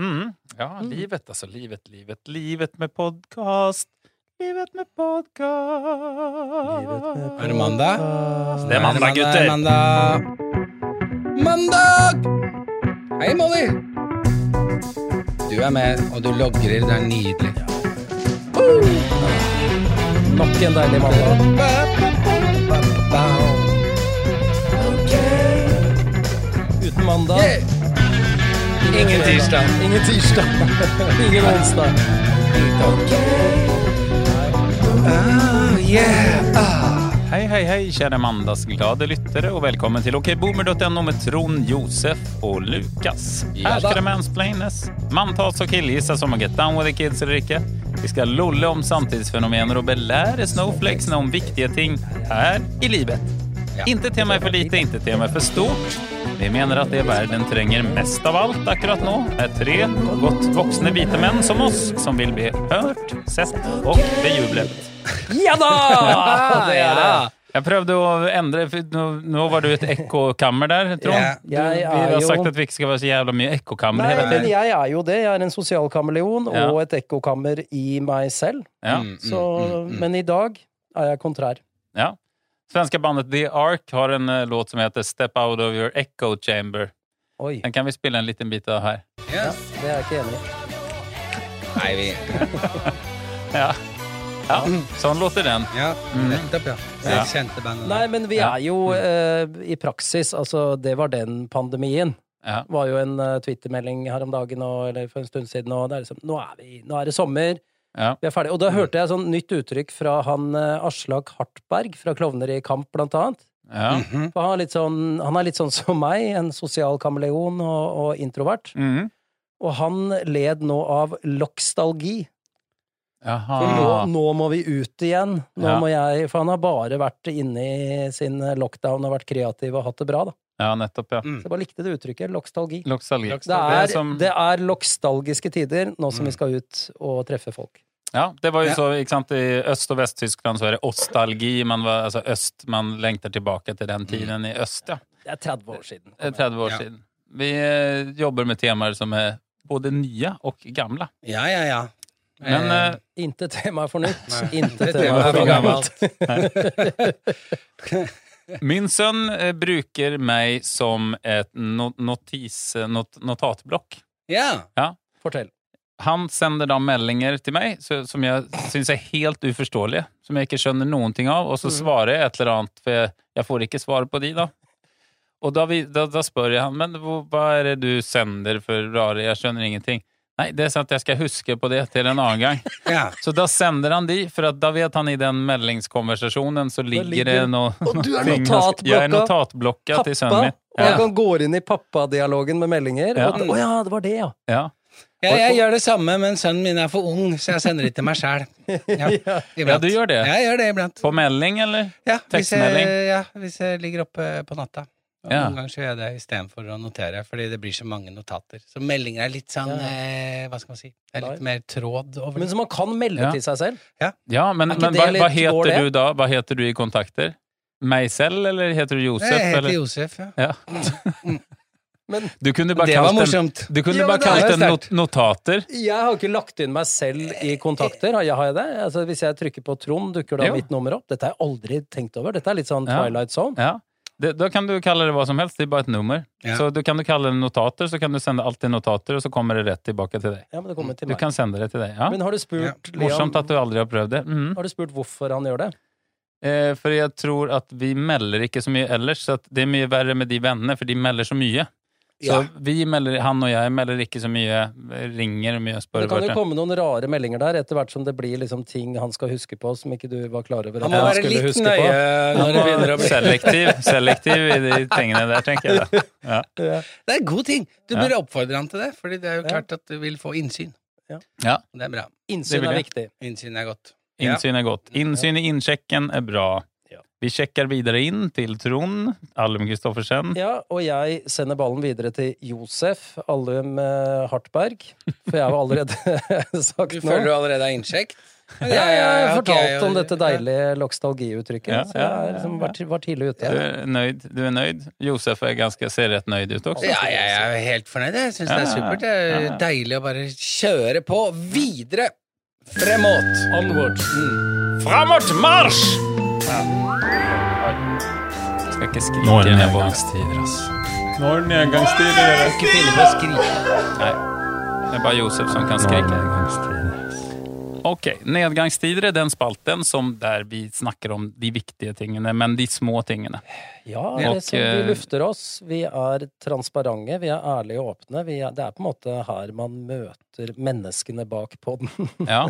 Mm. Ja, Mm. livet, alltså. Livet, livet, livet med podcast. Livet med podcast. Er det mandag? Det er mandag, gutter. er Mandag! mandag! Hei, Molly! Du er med, og du logrer. Det er nydelig. Woo! Nok en deilig mandag. Ba, ba, ba, ba, ba. Uten mandag, Yeah! Ingen tirsdag. ingen tirsdag, ingen onsdag. Ah, yeah. Ah. Hei, hei, hei, kjære mandagsglade lyttere, og velkommen til okboomer.no med Trond, Josef og Lukas. Ja Her skal da. det mansplaines. Mann tas og killgisses om å get down with the kids eller ikke. Vi skal lolle om samtidsfenomener og belære snowflakesene om viktige ting her i livet. Ja. Ikke temaet for lite, ikke temaet for stort. Vi mener at det verden trenger mest av alt akkurat nå, er tre godt voksne hvite menn som oss, som vil bli hørt, sett og bejublet. Ja da! Ah, Det er det. Jeg prøvde å endre for Nå, nå var du et ekkokammer der, Trond. Ja. Du, Jeg vi er har jo- sagt at vi ikke skal være så jævla mye ekkokammer Nei, hele men tiden. jeg er jo det. Jeg er en sosial kameleon Ja. og et ekkokammer i meg selv. Ja. Mm, Så, mm, mm, mm. men i dag er jeg kontrær. Ja. Svenska bandet The Ark har en eh, låt som heter 'Step Out of Your Echo Chamber'. Oi, Den kan vi spille en liten bit av her. Ja. det er jeg ikke enig i. Nei, vi Ja. ja. Mm. Sånn låter den. Ja, nettopp, Mm. ja. Så Ja. jeg kjente bandet. Nei, men vi Ja. er jo eh, i praksis Altså, det var den pandemien. Ja. Det var jo en eh, Twitter-melding her om dagen og, eller for en stund siden, og det er liksom Nå er, vi, nå er det sommer. Ja. Vi er ferdige. Og da hørte jeg sånn nytt uttrykk fra han eh, Aslak Hartberg fra Klovner i kamp, blant annet. ja. Mhm. For han er litt sånn, han er litt sånn som meg, en sosial kameleon og, og introvert. Mm. Og han led nå av lokstalgi. For nå, Jaha. nå må vi ut igjen. Nå Ah. Ja. må jeg, for han har bare vært inne i sin lockdown og vært kreativ og hatt det bra, da. Ja, nettopp, Mm. ja. Så jeg bare likte det uttrykket. Lokstalgi. Lokstalgi. Lokstalgi. Det er, Det er som- det er lokstalgiske tider nå som vi skal ut og treffe folk. Ja, det var jo Ja. så, ikke sant, I Øst- og Vest-Tyskland så er det ostalgi. Man, var, altså øst, man lengter tilbake til den tiden i øst, ja. Det er 30 år siden. Eh, 30 år Mm. Ja. siden. Vi eh, jobber med temaer som er både nye og gamle. Ja, ja, ja. Men Eh, eh, Intet tema er for nytt. Nei. Intet Det tema er for gammelt. min sønn eh, bruker meg som et no notis, eh, not notatblokk. Ja. Fortell. Han sender da meldinger til meg så, som jeg syns er helt uforståelige, som jeg ikke skjønner noen ting av, og Mm. så svarer jeg et eller annet, for jeg, jeg får ikke svar på de, da. Og da, vi, da, da spør jeg han, men hvor- hva er det du sender for rare, jeg skjønner ingenting. Nei, det er sånn at jeg skal huske på det til en annen gang. ja. Så da sender han de, for at da vet han i den meldingskonversasjonen så ligger, det ligger- noe Og du er ting- notatblokka. Jeg er notatblokka til sønnen min. og Ja. han går inn i pappadialogen med meldinger. Ja. Og, å ja, det var det, ja. Ja. Ja, jeg gjør det samme, men sønnen min er for ung, så jeg sender det til meg sjæl. Ja, ja, iblant. du gjør det? Jeg gjør det iblant. På melding, eller? Ja, hvis jeg, Tekstmelding? ja, hvis jeg ligger oppe på natta. Og Ja. Noen ganger så gjør jeg det istedenfor å notere, fordi det blir så mange notater. Så meldinger er litt sånn Ja. eh, Hva skal man si? Det er litt mer tråd over Men det. som man kan melde Ja. til seg selv. Ja, men, Er ikke men det hva, litt hva vår heter det? du da? Hva heter du i kontakter? Meg selv, eller heter du Josef? Jeg heter eller? Josef, ja. Ja. Mm, Men Du kunne bare Det var kalt den, morsomt. du kunne Ja, bare men det er kalt jo den not sterkt. notater. jeg har ikke lagt inn meg selv i kontakter. Har jeg, har jeg det? Altså, hvis jeg trykker på Trond, dukker da Jo. mitt nummer opp. Dette har jeg aldri tenkt over. Dette er litt sånn Ja. Twilight Zone. Ja. Det, da kan du kalle det hva som helst, det er bare et nummer. Ja. Så du kan du kalle det notater, så kan du sende alltid notater, og så kommer det rett tilbake til deg. Ja, men det kommer til Mm. Du meg. kan sende det til deg. Ja. Men har du spurt Leon, Morsomt at du aldri har prøvd det. Mm. har du spurt hvorfor han gjør det? Eh, for jeg tror at vi melder ikke så mye ellers, så at det er mye verre med de vennene, for de melder så mye. Så Ja. vi melder, han og jeg melder ikke så mye, ringer mye og spør Det kan jo hverandre. komme noen rare meldinger der etter hvert som det blir liksom ting han skal huske på som ikke du var klar over at Han må han være skulle litt huske nøye når det begynner å Og bli Selektiv, selektiv i de tingene der, tenker jeg. Da. Ja. på. Ja. Det er en god ting! Du Ja. burde oppfordre han til det, Fordi det er jo Ja. klart at du vil få innsyn. Ja. Ja. Det er bra. Det Innsyn vil er jeg. viktig. Innsyn er godt. Ja. Innsyn er godt. Innsyn i innsjekken er bra. Ja. Vi sjekker videre inn til Trond Alm Kristoffersen. Ja, og jeg sender ballen videre til Josef Allum eh, Hartberg. For jeg har jo allerede sagt Du nå. føler du allerede er innsjekt? Jeg, jeg ok, fortalte om ja. dette deilige lokstalgiuttrykket. Ja, så jeg ja, er liksom, var, var tidlig ute. Du er nøyd. Du er nøyd. Josef er ganske, ser rett nøyd ut også. Ja, jeg er jo helt fornøyd. Jeg syns det Ja, er ja, supert. Det er ja, ja. deilig å bare kjøre på videre. Fremåt. Onwards. Framåt marsj! Skal ikke skrike nedover. ass. Nå er det nedgangstider, dere. Ikke finne på å skrike. Det er bare Josef som kan skrike. Ok, nedgangstider er den spalten som der vi snakker om de viktige tingene, men de små tingene. Ja, Ja. det som Og, vi eh, lufter oss. Vi er transparente, vi er ærlige og åpne. Vi er, det er på en måte her man møter menneskene bak podden. Ja,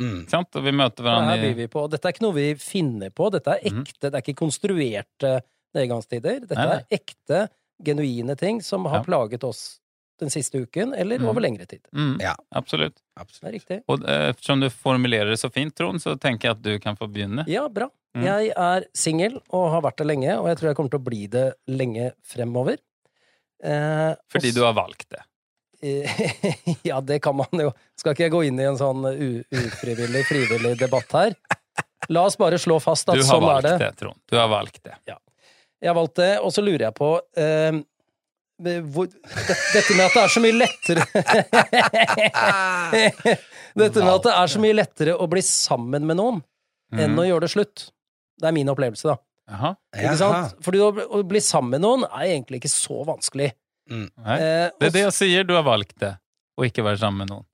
Mm. sant? Og vi møter Det her hverandre byr i vi på. Dette er ikke noe vi finner på. Dette er ekte. Det er ikke konstruerte nedgangstider. Mhm. Dette Nei, nei. er ekte, genuine ting som har Ja. plaget oss den siste uken, eller Mm. over lengre tid. mm, Ja. Absolutt. Det Absolutt. er riktig. Og eh, ettersom du formulerer det så fint, Trond, så tenker jeg at du kan få begynne. Ja, bra. Mm. Jeg er singel og har vært det lenge, og jeg tror jeg kommer til å bli det lenge fremover. Eh, Fordi og du har valgt det. Eh, Ja, det kan man jo. Skal ikke jeg gå inn i en sånn u ufrivillig, frivillig debatt her? La oss bare slå fast Du at har sånn er valgt det. det, Trond. Du har valgt det. Jeg har valgt det, og så lurer jeg på eh, det- hvor, det, Dette med at det er så mye lettere Ah, Dette med at det er så mye lettere å bli sammen med noen Mhm. enn å gjøre det slutt. Det er min opplevelse, da. Mm. Jaha. Ikke sant? Fordi å, å bli sammen med noen er egentlig ikke så vanskelig. Nei. Eh, Det og er det jeg sier, du har valgt det, og ikke være sammen med noen.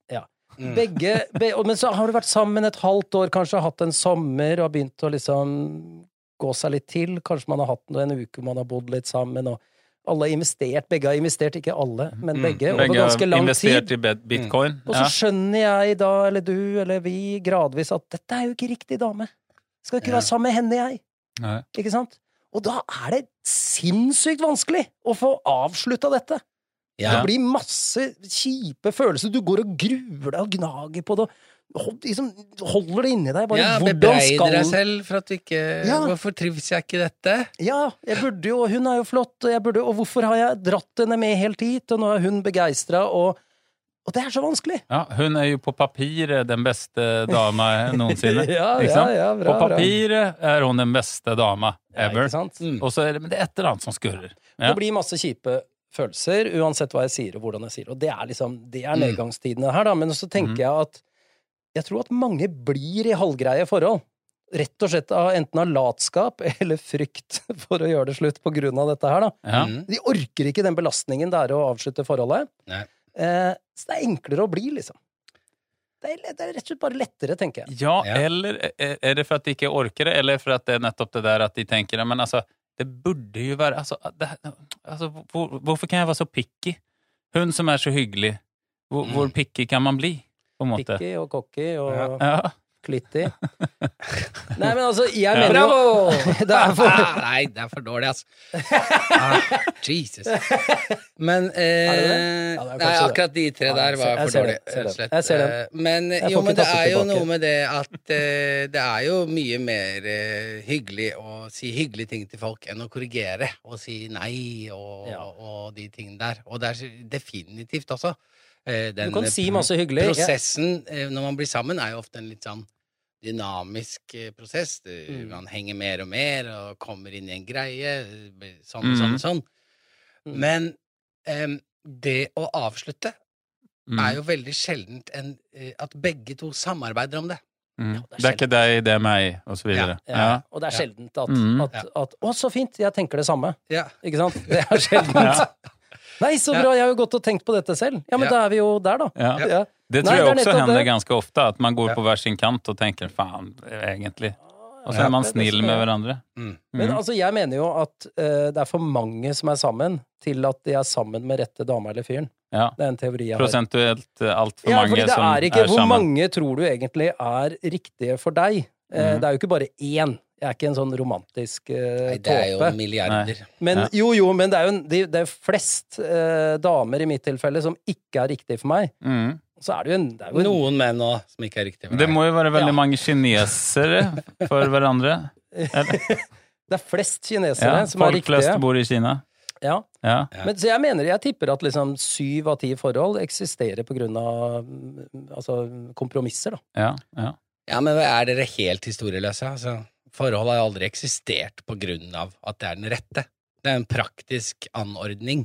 Mm. Begge, be, og- men så har du vært sammen et halvt år, kanskje hatt en sommer og har begynt å liksom gå seg litt til. Kanskje man har hatt noe- en uke man har bodd litt sammen, og alle har investert. Begge har investert, ikke alle, men Mm. begge, over Begge ganske har lang investert tid. Mm. i bet- bitcoin. Og Ja. så skjønner jeg da, eller du, eller vi, gradvis at dette er jo ikke riktig dame. Skal ikke Ja. være sammen med henne, jeg. Nei. Ikke sant? Og da er det sinnssykt vanskelig å få avslutta dette. Ja. Det blir masse kjipe følelser. Du går og gruer deg og gnager på det. og Hold, liksom, holder det inni deg. Bare, ja, hvordan bebreider skal deg selv for at du ikke Ja. Hvorfor trives jeg ikke i dette? Ja, jeg burde jo, og hun er jo flott, og, jeg burde, og hvorfor har jeg dratt henne med helt hit? Og nå er hun begeistra, og, og det er så vanskelig. Ja, hun er jo på papiret den beste dama eh, noensinne. Ja, ikke sant? ja, ja, bra, på bra. papiret er hun den beste dama Ja, ever. ikke sant? Mm. og så er det, men det er et eller annet som skurrer. Ja. Det blir masse kjipe følelser, uansett hva jeg sier og hvordan jeg sier. Og det er liksom, det Mm. er nedgangstidene her, da. Men så Mm-hmm. tenker jeg at jeg tror at mange blir i halvgreie forhold. Rett og slett av enten av latskap eller frykt for å gjøre det slutt på grunn av dette her, da. Ja. Mm. De orker ikke den belastningen det er å avslutte forholdet. Nei. Eh, så det er enklere å bli, liksom. Det er, det er rett og slett bare lettere, tenker jeg. ja, Ja. eller er er det for at de ikke orker det, eller for at det er nettopp det der at de tenker "Ja, Men altså, det burde jo være altså, det, her- altså, hvor, Hvorfor kan jeg være så picky? Hun som er så hyggelig, hvor, Mm. hvor picky kan man bli? På en måte. Pikki og kokki og Ja. klitti. Nei, men altså, jeg mener jo Det er for Ah, nei, det er for dårlig, altså. Ah, Jesus. Men eh, Er det det? Ja, det er nei, kanskje det. akkurat de tre Ja, jeg der ser- var jeg for ser dårlige. det, rett jeg ser og det. slett. Jeg ser det. Eh, Men, Jeg får jo, ikke men det tatt det er jo tilbake. noe med det at eh, det er jo mye mer eh, hyggelig å si hyggelige ting til folk enn å korrigere og si nei og, Ja. og de tingene der. Og det er definitivt også. eh, den Du kan si pro- masse hyggelig. Jeg- Prosessen eh, når man blir sammen, er jo ofte en litt sånn dynamisk eh, prosess. Du- Mm. Man henger mer og mer og kommer inn i en greie. eh, blir Sånn, Mm. sånn, sånn. Mm. Men em, det å avslutte er Mm. jo veldig sjeldent en, eh, at begge to samarbeider om det. Mm. det er Det er ikke deg, det er meg, og så videre. Ja. Ja. Og det er Ja. sjeldent at, Mm. at, at 'Å, så fint! Jeg tenker det samme.' Ja. Ikke sant? Det er sjeldent. Ja. Nei, så bra! Jeg har jo gått og tenkt på dette selv. Ja, men Ja. da er vi jo der, da. Ja. Ja. Det tror jeg Nei, det er også nettopp hender det. ganske ofte, at man går Ja. på hver sin kant og tenker faen, egentlig. Og så Ja, er man det er det snill som med er- hverandre. Mm. Men Mhm. altså, jeg mener jo at eh, det er for mange som er sammen, til at de er sammen med rette dama eller fyren. Ja. Det er en teori jeg har. Prosentuelt altfor Ja, fordi mange det som er ikke, Hvor sammen. mange tror du egentlig er riktige for deg? Eh, Mhm. Det er jo ikke bare én. Jeg er ikke en sånn romantisk eh, Nei, det er jo tåpe. milliarder. Men Ja. jo, jo, men det er jo det, det er flest eh, damer i mitt tilfelle som ikke er riktig for meg. Mm. Så er det jo en, det er jo en Noen menn òg som ikke er riktig. for Det deg. må jo være veldig Ja. mange kinesere for hverandre. Det er flest kinesere Ja. som er Folk flest riktige. bor i Kina. Ja. Ja. Ja. Men, så jeg mener, jeg tipper at liksom syv av ti forhold eksisterer på grunn av mm, altså, kompromisser, da. Ja. Ja. Ja, men er dere helt historieløse? Altså, forhold har jo aldri eksistert på grunn av at det er den rette. Det er en praktisk anordning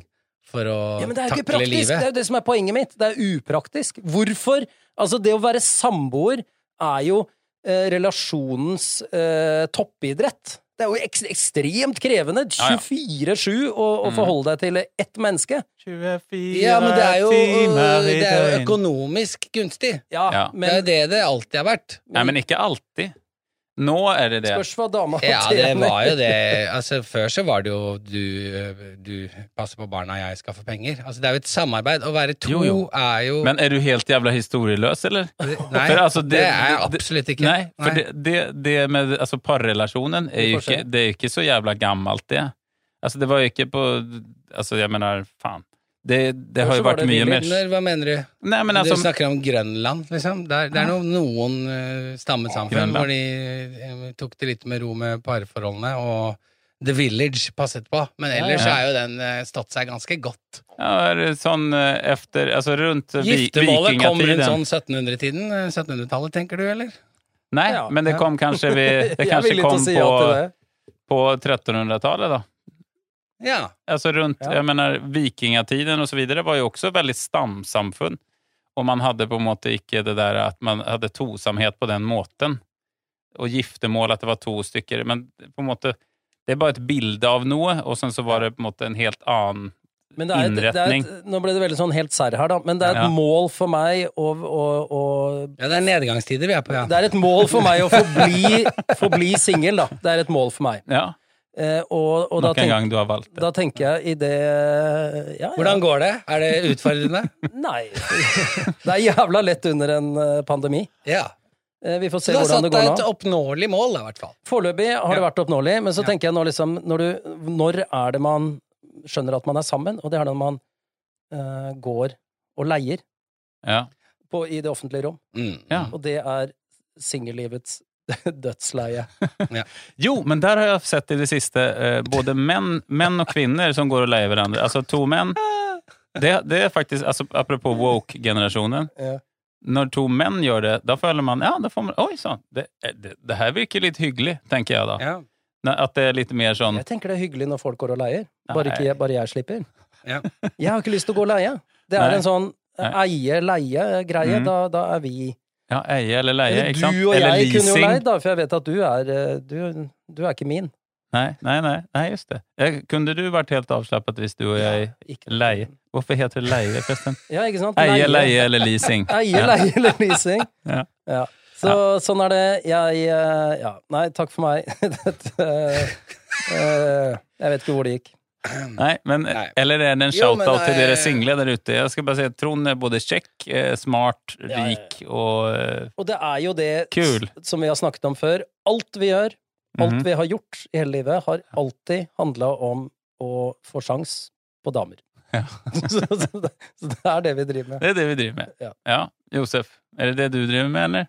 for å Ja, men det er jo takle ikke praktisk! Det livet. er jo det som er poenget mitt. Det er upraktisk. Hvorfor? Altså, det å være samboer er jo eh, relasjonens eh, toppidrett. Det er jo ek ekstremt krevende. Ja, Mm. ja. 24-7 å, å forholde deg til ett menneske. 24 Ja, men eh, det er jo, timer i det er jo døgnet. økonomisk gunstig. Ja, Ja. det er men jo det det alltid har vært. Nei, men ikke alltid. Nå er det det. spørs hva dama Ja, det tjener. var jo det. Altså, før så var det jo du, du passer på barna, jeg skaffer penger. Altså, det er jo et samarbeid. Å være to Jo, jo. er jo Men er du helt jævla historieløs, eller? Nei, For altså, det, er jeg absolutt ikke. Nei, for det, det, det med altså, parrelasjonen er jo ikke, det er jo ikke så jævla gammelt, det. Altså, det var jo ikke på Altså, jeg mener, faen. Det, det har Kanskje jo var vært det mye mer Når, hva mener du? Nei, men du altså snakker om Grønland, liksom? Det er, det er no, noen eh, stammesamfunn Grønland. hvor de eh, tok det litt med ro med parforholdene, og The Village passet på. Men ellers ja. er jo den eh, stått seg ganske godt. ja, er det sånn eh, efter Altså rundt eh, vi- Giftermålet kom rundt vikingatiden. sånn 1700-tiden. eh, 1700-tallet, tenker du, eller? Nei, Ja. men det kom kanskje vi, Det Jeg er kanskje villig til kom å si ja på, til det. på 1300-tallet, da. Ja. Alltså runt, Ja. jag menar, vikingatiden och så vidare var ju också väldigt stamsamfund. Och man hade på en måte icke det där att man hade tosamhet på den måten. Och giftermål, att det var två stycken. Men på en måte, det är bara ett bild av noe. Och sen så var det på en måte en helt annan... Men det er, et- det er Innretning. et, nå ble det veldig sånn helt serr her, da, men det er et Ja. mål for meg å, å, å ja, det er nedgangstider vi er på, ja. Det er et mål for meg å forbli, forbli singel, da. Det er et mål for meg. Ja, Eh, og, og da, någon tenk, gång du har valt det. da tenker jeg i det ja, ja. Hvordan går det? Er det utfordrende? Nei. Det er jævla lett under en eh, pandemi. ja. Eh, vi får Så se du har hvordan satt det deg går et nå. oppnåelig mål, da, i hvert fall. Foreløpig har det Ja. vært oppnåelig, men så Ja. tenker jeg nå liksom når, du, når er det man skjønner at man er sammen? Og det er når man eh, går og leier Ja. på, i det offentlige rom. Mm. Ja. Og det er singellivets dødsleie. Jo, men där har jag sett i det sista eh, både män, män och kvinnor som går och lejer varandra. Alltså to män. Det, det är faktiskt, alltså, apropå woke-generationen. Ja. når to menn gjør det, da føler man ja, da får man, Oi sann, det, eh, det, det her virker litt hyggelig, tenker jeg da. Ja. Nei, At det er litt mer sånn Jeg tenker det er hyggelig når folk går og leier. Bare, ikke, Nei. jeg- bare jeg slipper. Ja. Jeg har ikke lyst til å gå og leie. Det er Nei. en sånn Nei. eie-leie-greie. Mm. Da, da er vi ja, eie eller leie, Eller ikke sant? du og Eller jeg kunne jo leasing. leid, da, for jeg vet at du er eh, Du, du er ikke min. Nei, nei, nei, nei, just det. Jeg, kunne du vært helt avslappet hvis du og jeg Ikke- leie? Hvorfor heter det leie, forresten? Ja, ikke sant? Eie, leie eller leasing. Eie, leie eller leasing. Ja. Ja. Så sånn er det. Jeg eh, Ja, nei, takk for meg. Dette eh, eh, Jeg vet ikke hvor det gikk. Mm. Nei, men, Nei. Eller er det en Jo, men shout-out til nei. dere eh, single der ute? Jeg skal bare si at Trond er både kjekk, eh, smart, ja, ja. rik og eh, Og det er jo det Kul. s- som vi har snakket om før. Alt vi gjør, alt Mhm. vi har gjort i hele livet, har alltid handla om å få sjans på damer. så, så, det, så det er det vi driver med. Det er det vi driver med. Ja. Ja. Josef, er det det du driver med, eller?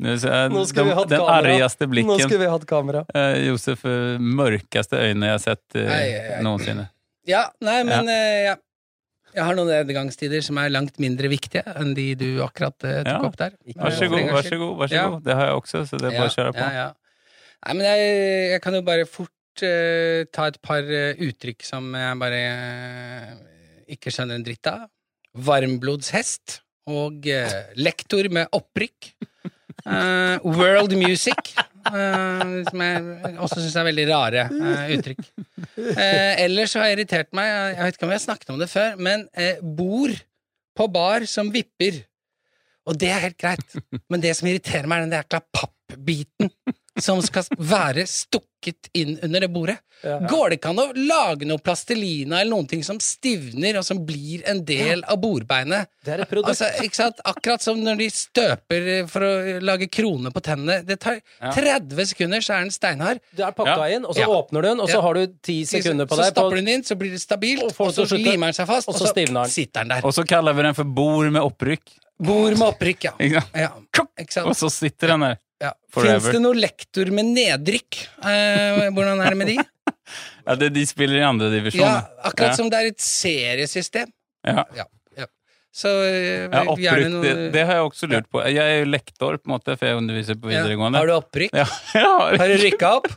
Nå, ser jeg Nå skulle vi den- hatt den kamera. argaste Nå blikken. skulle vi hatt kamera. Eh, Josef, eh, mørkeste øyne jeg har sett eh, Ai, ai, ai. noensinne. Ja, nei, men eh, ja. Jeg har noen nedgangstider som er langt mindre viktige enn de du akkurat eh, tok Ja. opp der. Ikke Vær så god, Ja. vær så god. Vær så Ja. god. Det har jeg også, så det er Ja, bare å kjøre på. Ja, ja. Nei, men jeg, jeg kan jo bare fort eh, ta et par eh, uttrykk som jeg bare eh, ikke skjønner en dritt av. Varmblodshest og eh, lektor med opprykk. Eh, world music, eh, som jeg også syns er veldig rare eh, uttrykk. Eh, ellers så har jeg irritert meg, jeg jeg vet ikke om vi har snakket om det før, men eh, bord på bar som vipper. Og det er helt greit, men det som irriterer meg, er den jækla pappbiten som skal være stukket inn under det bordet. Ja. Går det ikke an å lage noe plastelina eller noen ting som stivner, og som blir en del av bordbeinet? Det er et produkt. Altså, ikke sant? Akkurat som når de støper eh, for å lage krone på tennene. Det tar 30 sekunder, så er den steinhard. du er pakka inn, og så Ja. åpner du den, og så Ja. har du ti sekunder på så deg. stapper På, du den inn, så blir det stabilt, Og og, folk så som slutter- limer den seg fast, og så stivner den. sitter den der. Og så kaller vi den for bord med opprykk. Bord med opprykk, ja. Ikke sant? ja. Ikke sant? Og så sitter den der. Ja. Forever. Fins det noe lektor med nedrykk? Eh, hvordan er det med de? Ja, det, de spiller i andre divisjon. Ja, Sånn. akkurat Ja. som det er et seriesystem. Ja. Ja. Så eh, Jeg har opprykk, gjerne noe det, det har jeg også lurt på. Jeg er jo lektor, på en måte, for jeg underviser på Ja. videregående. Har du opprykk? Ja, jeg har. Har du rykka opp?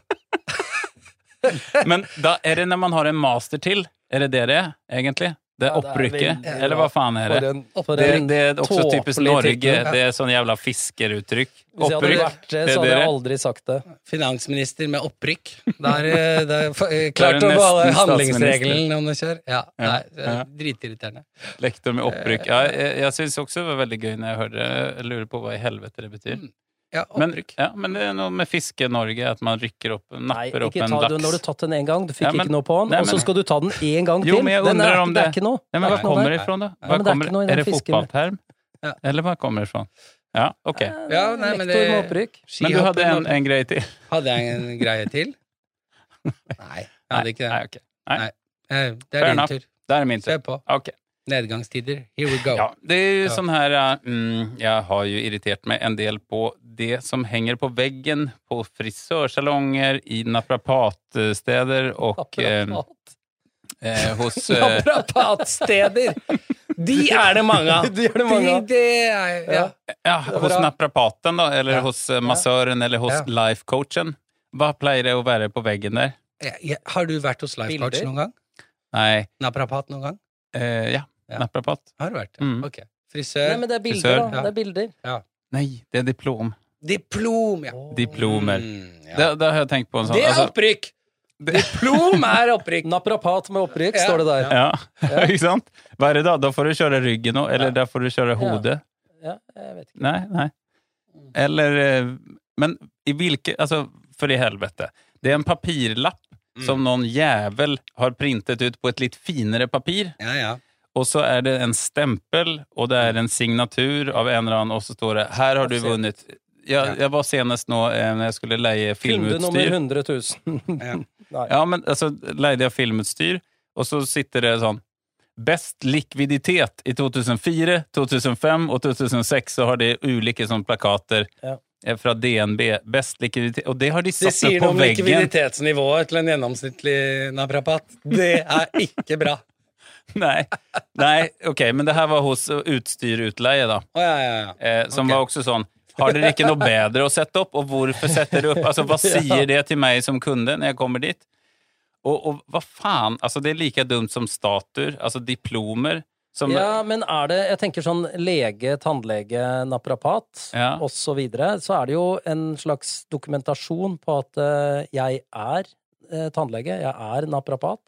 Men da er det når man har en master til. Er det det det er, egentlig? Det er Ja, det er opprykket? veldig Eller hva faen er det? For en, for Det, en det er også typisk tåpelig Norge. tittel. Det er sånn jævla fiskeruttrykk. Hvis jeg hadde Opprykk. vært det, Det er så hadde jeg dere. aldri sagt det. Finansminister med opprykk. Da er det- da er det fa- eh, Da er klart det å beholde nesten handlingsregelen om du kjører. Ja, Ja, nei, det er ja. dritirriterende. Lektor med opprykk. Ja, jeg jeg syns også det var veldig gøy når jeg hørte det. Jeg lurer på hva i helvete det betyr. Ja, Men, opprykk. ja, men det er noe med Fiske-Norge, at man rykker opp, Nei, napper opp ikke en ta den. Nå har du laks. tatt den én gang, du fikk Ja, men- ikke noe på den, Nei, og så men- skal du ta den én gang til. Jo, men jeg den undrer er, om det er det- ikke noe. Nei, men Det hva er ikke noe kommer der. det ifra, da? Ja, Hva men det er kommer, ikke noe i den er det fisken. fotballterm? Ja. Eller hva kommer det ifra? Ja, ok. Ja, nei, men Eh, Lektor med det- opprykk. Men du hadde en, Skihoppen, en greie til? Hadde jeg en greie til? Nei, jeg hadde ikke Nei, det. ok. Eh, Det Fair er din enough. tur. Da er det min tur. Kjør på. Ok. Nedgangstider. Here we go. Ja, det er jo Ja. sånn her eh, mm, Jeg har jo irritert meg en del på det som henger på veggen på frisørsalonger, i naprapatsteder og eh, Apparat. eh, hos eh, Naprapatsteder! De er det mange av. De er det mange av. De, det er, ja. Ja, Det er hos bra. naprapaten, da, eller Ja. hos eh, massøren, eller hos Ja. lifecoachen. Hva pleier det å være på veggen der? Ja, ja. Har du vært hos Life Coach Bilder? noen gang? Nei Naprapat noen gang? eh, Ja, Ja. naprapat. Har du vært det? Mm. Ok. Nei, Frisør. men det er bilder, Frisør. da. Det er bilder. Nei, det er diplom. Diplom, ja. Diplomer. Mm, ja. Da, da har jeg tenkt på en sånn Det er altså, opprykk! Diplom er opprykk. Naprapat med opprykk, Ja. står det der. Ja, ikke sant? Hva er det da? Da får du kjøre ryggen òg, eller da får du kjøre hodet. Ja, jeg vet ikke. Nei, nei. Eller eh, Men i hvilke Altså, for i helvete. Det er en papirlapp Mm. som noen jævel har printet ut på et litt finere papir. Ja, ja. Og så er det en stempel, og det er en signatur av en eller annen, og så står det 'Her har du vunnet'. Jeg, jeg var senest nå eh, når jeg skulle leie Kunde filmutstyr. nummer 100 000. ja. Ja, men altså, leide jeg filmutstyr, og så sitter det sånn Best likviditet i 2004, 2005 og 2006, så har de ulike sånn plakater Ja. eh, fra DNB. Best likviditet Og det har de Det satt sier opp på noe om veggen! likviditetsnivået til en gjennomsnittlig naprapat. Det er ikke bra. Nei, nei, ok, men det her var hos eh, utstyrutleie, da. Å, ja, ja, ja. Eh, som Ok. var også sånn Har dere ikke noe bedre å sette opp, og hvorfor setter dere opp? Altså, hva sier det til meg som kunde når jeg kommer dit? Og, og hva faen? Altså, det er like dumt som statuer, altså diplomer, som Ja, men er det Jeg tenker sånn lege, tannlege, naprapat Ja. og så videre, så er det jo en slags dokumentasjon på at eh, jeg er eh, tannlege, jeg er naprapat,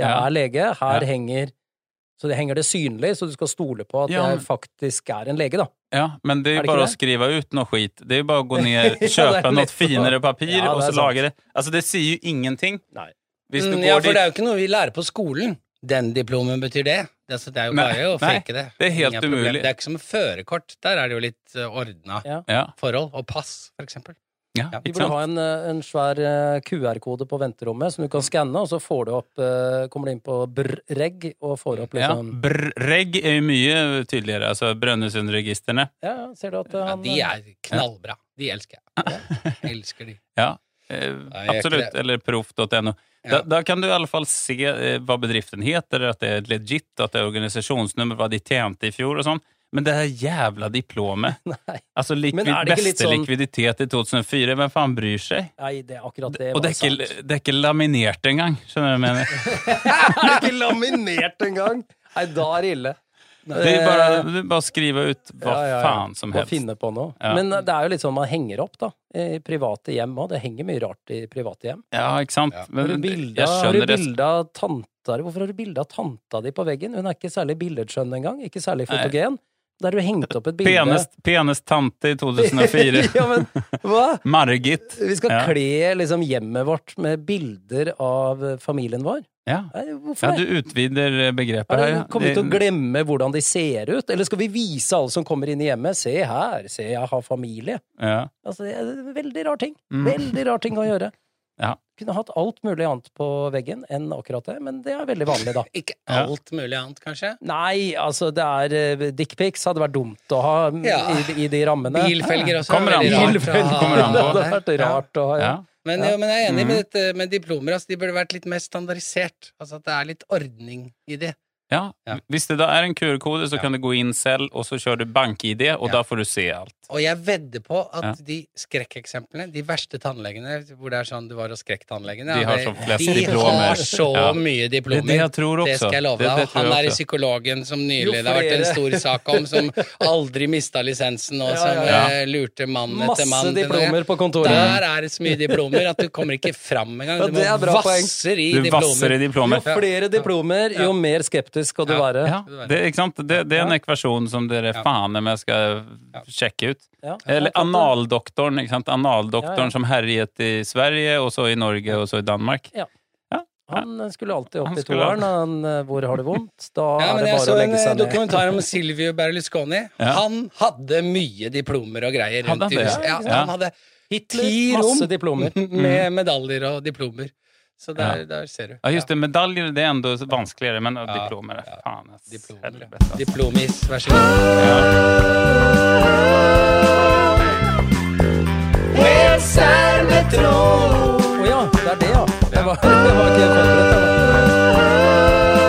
jeg Ja. er lege. Her Ja. henger Så det henger det synlig, så du skal stole på at Ja, men- jeg faktisk er en lege, da. Ja, men det er Er jo det bare ikke å skrive ut noe skit. Det er jo bare å gå ned, Ja, det kjøpe er noe lett å- finere papir, Ja, det og er så sant. lage det. Altså, det sier jo ingenting. Nei. Hvis du Mm, går ja, for dit det er jo ikke noe vi lærer på skolen. Den diplomen betyr det. Det er, så det er jo Nei, bare å nei, fake det. det er helt Ingen problem. umulig. Det er ikke som med førerkort. Der er det jo litt eh, ordna Ja. Ja, forhold. Og pass, for eksempel. ja, Ja, Vi ikke burde sant? ha en, eh, en svær eh, QR-kode på venterommet som du kan skanne, og så får du opp eh, Kommer du inn på brrreg og får opp Ja. liksom Brrregg er jo mye tydeligere, altså Brønnøysundregistrene. Ja, ja, ser du at eh, Ja, han de er knallbra. De elsker jeg. Jeg elsker de. Ja, eh, Nei, jeg er ikke absolutt. det. Eller proff.no. Da, Ja. da kan du i alle fall se eh, hva bedriften heter, at det er legit, at det er organisasjonsnummer, hva de tjente i fjor og sånn. Men det her jævla diplomet Nei. Altså likvid, Men er det beste ikke litt sånn- likviditet i 2004, hvem faen bryr seg? Nei, det er akkurat det. Og var det er ikke, sant. det er ikke laminert engang, skjønner du hva jeg mener? Det er ikke laminert engang! Nei, da er det ille. Eh, Det er bare, det er bare å skrive ut hva Ja, ja, ja. faen som Å helst. finne på noe. Ja. Men det er jo litt sånn man henger opp, da. I private hjem òg. Det henger mye rart i private hjem. Ja, ikke sant? Ja. Har du Men bilde jeg har du skjønner det. bilde av tanta di? Hvorfor har du bilde av tanta di på veggen? Hun er ikke særlig billedskjønn engang. Ikke særlig Nei. fotogen. Der har du hengt opp et bilde Penest, penest tante i 2004. ja, men hva? Margit. Vi skal Ja. kle liksom hjemmet vårt med bilder av eh, familien vår. Ja. Nei, ja, hvorfor det? du utvider eh, begrepet Har her. du ja. kommet Det- til å glemme hvordan de ser ut? Eller skal vi vise alle som kommer inn i hjemmet? Se her, se jeg har familie. Ja. Altså, det er en veldig rar ting. Mm. Veldig rar ting å gjøre. Ja. Kunne hatt alt mulig annet på veggen enn akkurat det, men det er veldig vanlig, da. Ikke Ja. alt mulig annet, kanskje. Nei, altså, det er dickpics hadde vært dumt å ha mm, Ja. i, i de rammene. Bilfelger også. Kommer an veldig på. rart å ha. Bilfelger kommer an Det på. hadde vært Ja. rart å ha. Ja. Ja. Mhm. Men, Ja. jo, men jeg er enig med dette med diplomer. Altså, de burde vært litt mer standardisert. Altså at det er litt ordning i det. Ja. Ja. Hvis det da er en QR-kode, så kan du gå inn selv, og så kjører du bank-ID, og Ja. da får du se alt. Og jeg vedder på at Ja. de skrekkeksemplene, de verste tannlegene hvor det er sånn du var hos skrekktannlegene De har det- som flest de diplomer. har så Ja. mye Det diplomer. er det jeg tror også. Det skal jeg love Det- deg. det Og tror jeg han er også. psykologen som nylig Jo det har vært en stor flere. sak om, som aldri mista lisensen, og Ja, som ja, ja. eh, lurte mann etter mann. Masse til det. diplomer på kontoret. Der er det så mye diplomer at du kommer ikke fram engang. Ja, Du det er bra må vasser i Du vasser diplomer. i Jo diplomer. flere diplomer, jo mer skeptisk skal du Ja. være. Ja, det, ikke sant? Det, det er en ekvasjon som dere Ja. faen om jeg skal sjekke ut. Ja. Eller analdoktoren, ikke sant? Ja, Analdoktoren ja. som herjet i Sverige, og så i Norge, og så i Danmark. Han eh, skulle alltid Han opp i skulle toeren. Han, eh, hvor har det vondt? Da Ja, er men det jeg bare så å en legge eh, seg ned. dokumentar om Silvio Berlusconi. Ja. Han hadde mye diplomer og greier Hadde rundt han i det? huset. Ja, Ja, ja. han hadde ti Hitler, masse rom diplomer. Mm. med medaljer og diplomer. Så der, der ser du. Ja, just det. Medaljer det er enda vanskeligere, men ja, diplomer er faen ass. Diplomer, ja. Helvete, ass. Diplomis, vær så god. Å ja, det er det, ja. Det var, det var ikke forberedt. jeg, da.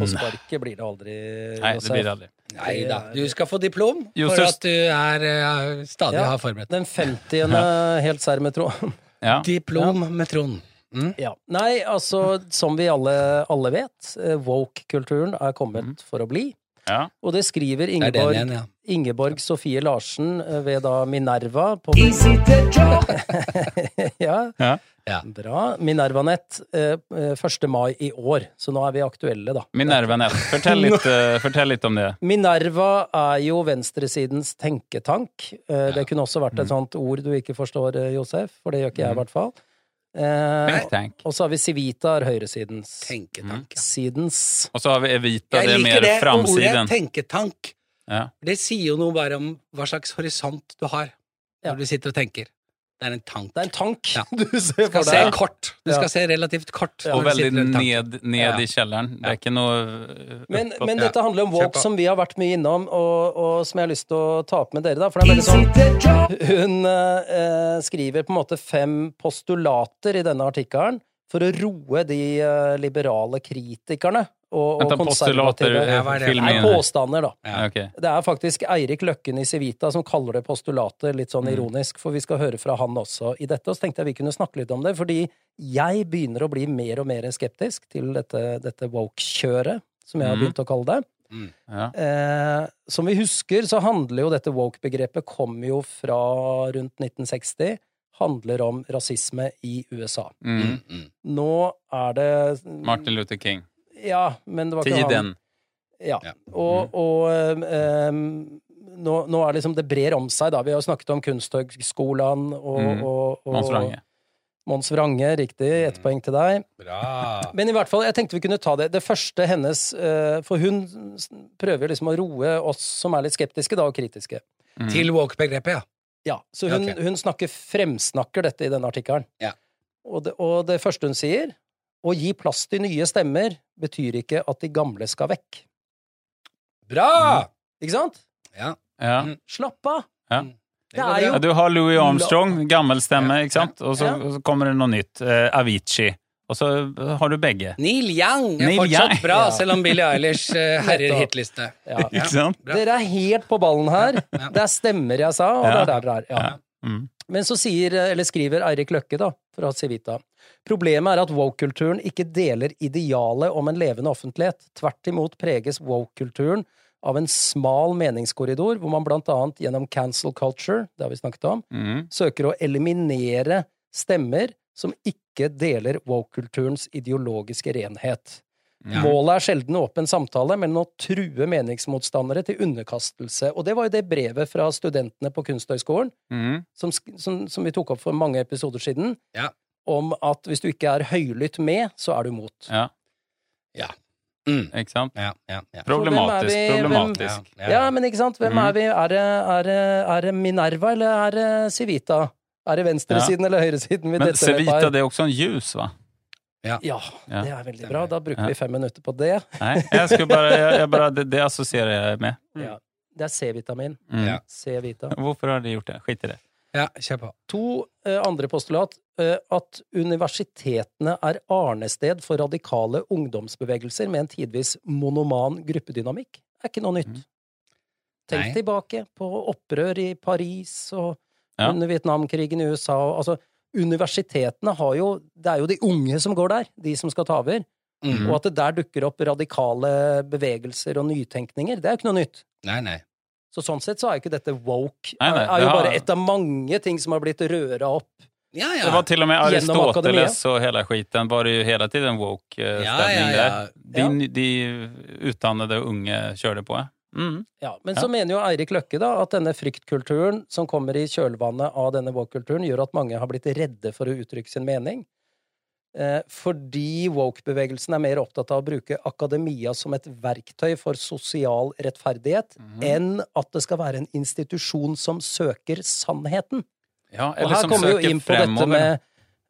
På sparket blir det aldri Nei, det blir det aldri. Nei da, du skal få diplom Jo, for så- at du er, eh, stadig Ja. har forberedt deg. Den 50. helt sær med tråd. Ja. Diplom med Trond. Ja. Nei, altså, som vi alle, alle vet, eh, woke-kulturen er kommet for å bli. Ja. Og det skriver Mhm. Det er den Ingeborg, igjen, ja. Ingeborg Sofie Larsen eh, ved da Minerva på ja. Ja. Ja. Bra. Minervanett eh, eh, 1. mai i år, så nå er vi aktuelle, da. Minerva Nett, fortell litt, eh, fortell litt om det. Minerva er jo venstresidens tenketank. Eh, Det kunne også vært et Mm. sånt ord du ikke forstår, eh, Josef, for det gjør ikke jeg, i hvert fall. Eh, Think tank. og så har vi Civita, er høyresidens. Tenketank. ja. Sidens Og så har vi Evita, det Jeg er liker mer det ordet framsiden. tenketank. Ja. Det sier jo noe bare om hva slags horisont du har Ja. når du sitter og tenker. Det er en tank. Det er en tank Ja. du ser Du for skal se deg. kort. Du Ja. skal se relativt kort. Og når du veldig sitter i en ned, tank. ned i kjelleren. Det er ikke noe eh, Men, oppåt. men Ja. dette handler om Kjør woke på. som vi har vært mye innom, og, og som jeg har lyst til å ta opp med dere. da, for det er veldig sånn, Hun eh, eh, skriver på en måte fem postulater i denne artikkelen for å roe de eh, liberale kritikerne og, og Vent, da, postulater konservative eh, hva er det? film Nei, inn. påstander, da. Ja, ok. Det er faktisk Eirik Løkken i Civita som kaller det postulater, litt sånn ironisk, for vi skal høre fra han også i dette. Og så tenkte jeg vi kunne snakke litt om det, fordi jeg begynner å bli mer og mer skeptisk til dette, dette woke-kjøret, som jeg har Mhm. begynt å kalle det. Ja. Eh, som vi husker, så handler jo dette woke-begrepet kom jo fra rundt 1960, handler om rasisme i USA. Mm. Mm. Nå er det Martin Luther King. Ja, men det var ikke han. Tiden. Ja. Ja. Og, og ehm, nå, nå er liksom det brer om seg, da. Vi har jo snakket om Kunsthøgskolen og, Mm. og, og Mons Wrange. Mons Wrange, riktig. Ett poeng til deg. Bra. Men i hvert fall, jeg tenkte vi kunne ta det. Det første hennes eh, For hun s- prøver liksom å roe oss som er litt skeptiske, da, og kritiske. Mm. Til walk-begrepet, ja. Ja, Så hun, Ok. hun snakker, fremsnakker dette i denne artikkelen. Ja. Og, det, og det første hun sier, å gi plass til nye stemmer, betyr ikke at de gamle skal vekk. Bra! Ikke sant? Ja. Ja. Mm. Slapp av! Ja. Det er jo Ja, du har Louis Armstrong, gammel stemme, Ja. ikke sant? Og så, Ja. og så kommer det noe nytt. Eh, Avicii. Og så eh, har du begge. Neil Young er Neil fortsatt Young. bra, Ja. selv om Billie Eilish eh, herjer Nettopp. hitliste. Ja. Ja. Ikke sant? Bra. Dere er helt på ballen her. Ja. Det er stemmer jeg sa, og det Ja. er der dere er. Ja. Ja. Mm. Men så sier, eller skriver Eirik Løkke, da, fra Civita, problemet er at woke-kulturen ikke deler idealet om en levende offentlighet. Tvert imot preges woke-kulturen av en smal meningskorridor, hvor man blant annet gjennom cancel culture, det har vi snakket om, Mm. søker å eliminere stemmer som ikke deler woke-kulturens ideologiske renhet. Ja. Målet er sjelden åpen samtale, men å true meningsmotstandere til underkastelse. Og det var jo det brevet fra studentene på Kunsthøgskolen Mm. som, sk- som, som vi tok opp for mange episoder siden, Ja. om at hvis du ikke er høylytt med, så er du mot. Ja, Mm. ikke sant? Ja, ja, ja. Problematisk. Så hvem er vi- problematisk. Ja, men ikke sant? Hvem Mhm. er vi? Er det, er, det, er det Minerva, eller er det Civita? Er det venstresiden eller høyresiden vi Men detter ned på Cevita, her? det er også en ljus, va? Ja, Ja. det er veldig bra. Da bruker Ja. vi fem minutter på det. Nei, jeg skulle bare, jeg, jeg bare det, det assosierer jeg med. Ja. Det er C-vitamin. Mm. Ja. C-vita. Hvorfor har de gjort det? Skit i det. Ja, kjør på. To eh, andre postulat eh, at universitetene er arnested for radikale ungdomsbevegelser med en tidvis monoman gruppedynamikk, er ikke noe Mhm. nytt. Tenk Nei. tilbake på opprør i Paris og Ja. under Vietnamkrigen i USA. og- Altså, universitetene har jo Det er jo de unge som går der, de som skal ta over. Mhm. Mm. Og at det der dukker opp radikale bevegelser og nytenkninger, det er jo ikke noe nytt. Nei, nei. Så sånn sett så er jo ikke dette woke. Nei, nei, det er jo det har- bare ett av mange ting som har blitt røra opp. Ja, ja. Det var till och med Genom Aristoteles och hela skiten var det ju hela tiden woke-stämning ja, ja, ja. där. De, de utdannede unge körde på. Mm. Ja, men Ja. så mener jo Eirik Løkke da at denne fryktkulturen som kommer i kjølvannet av denne woke-kulturen, gjør at mange har blitt redde for å uttrykke sin mening. Eh, fordi woke-bevegelsen er mer opptatt av å bruke akademia som et verktøy for sosial rettferdighet Mhm. Eh, enn at det skal være en institusjon som søker sannheten. Ja, Og eller her som kommer vi jo söker inn på dette fremover. med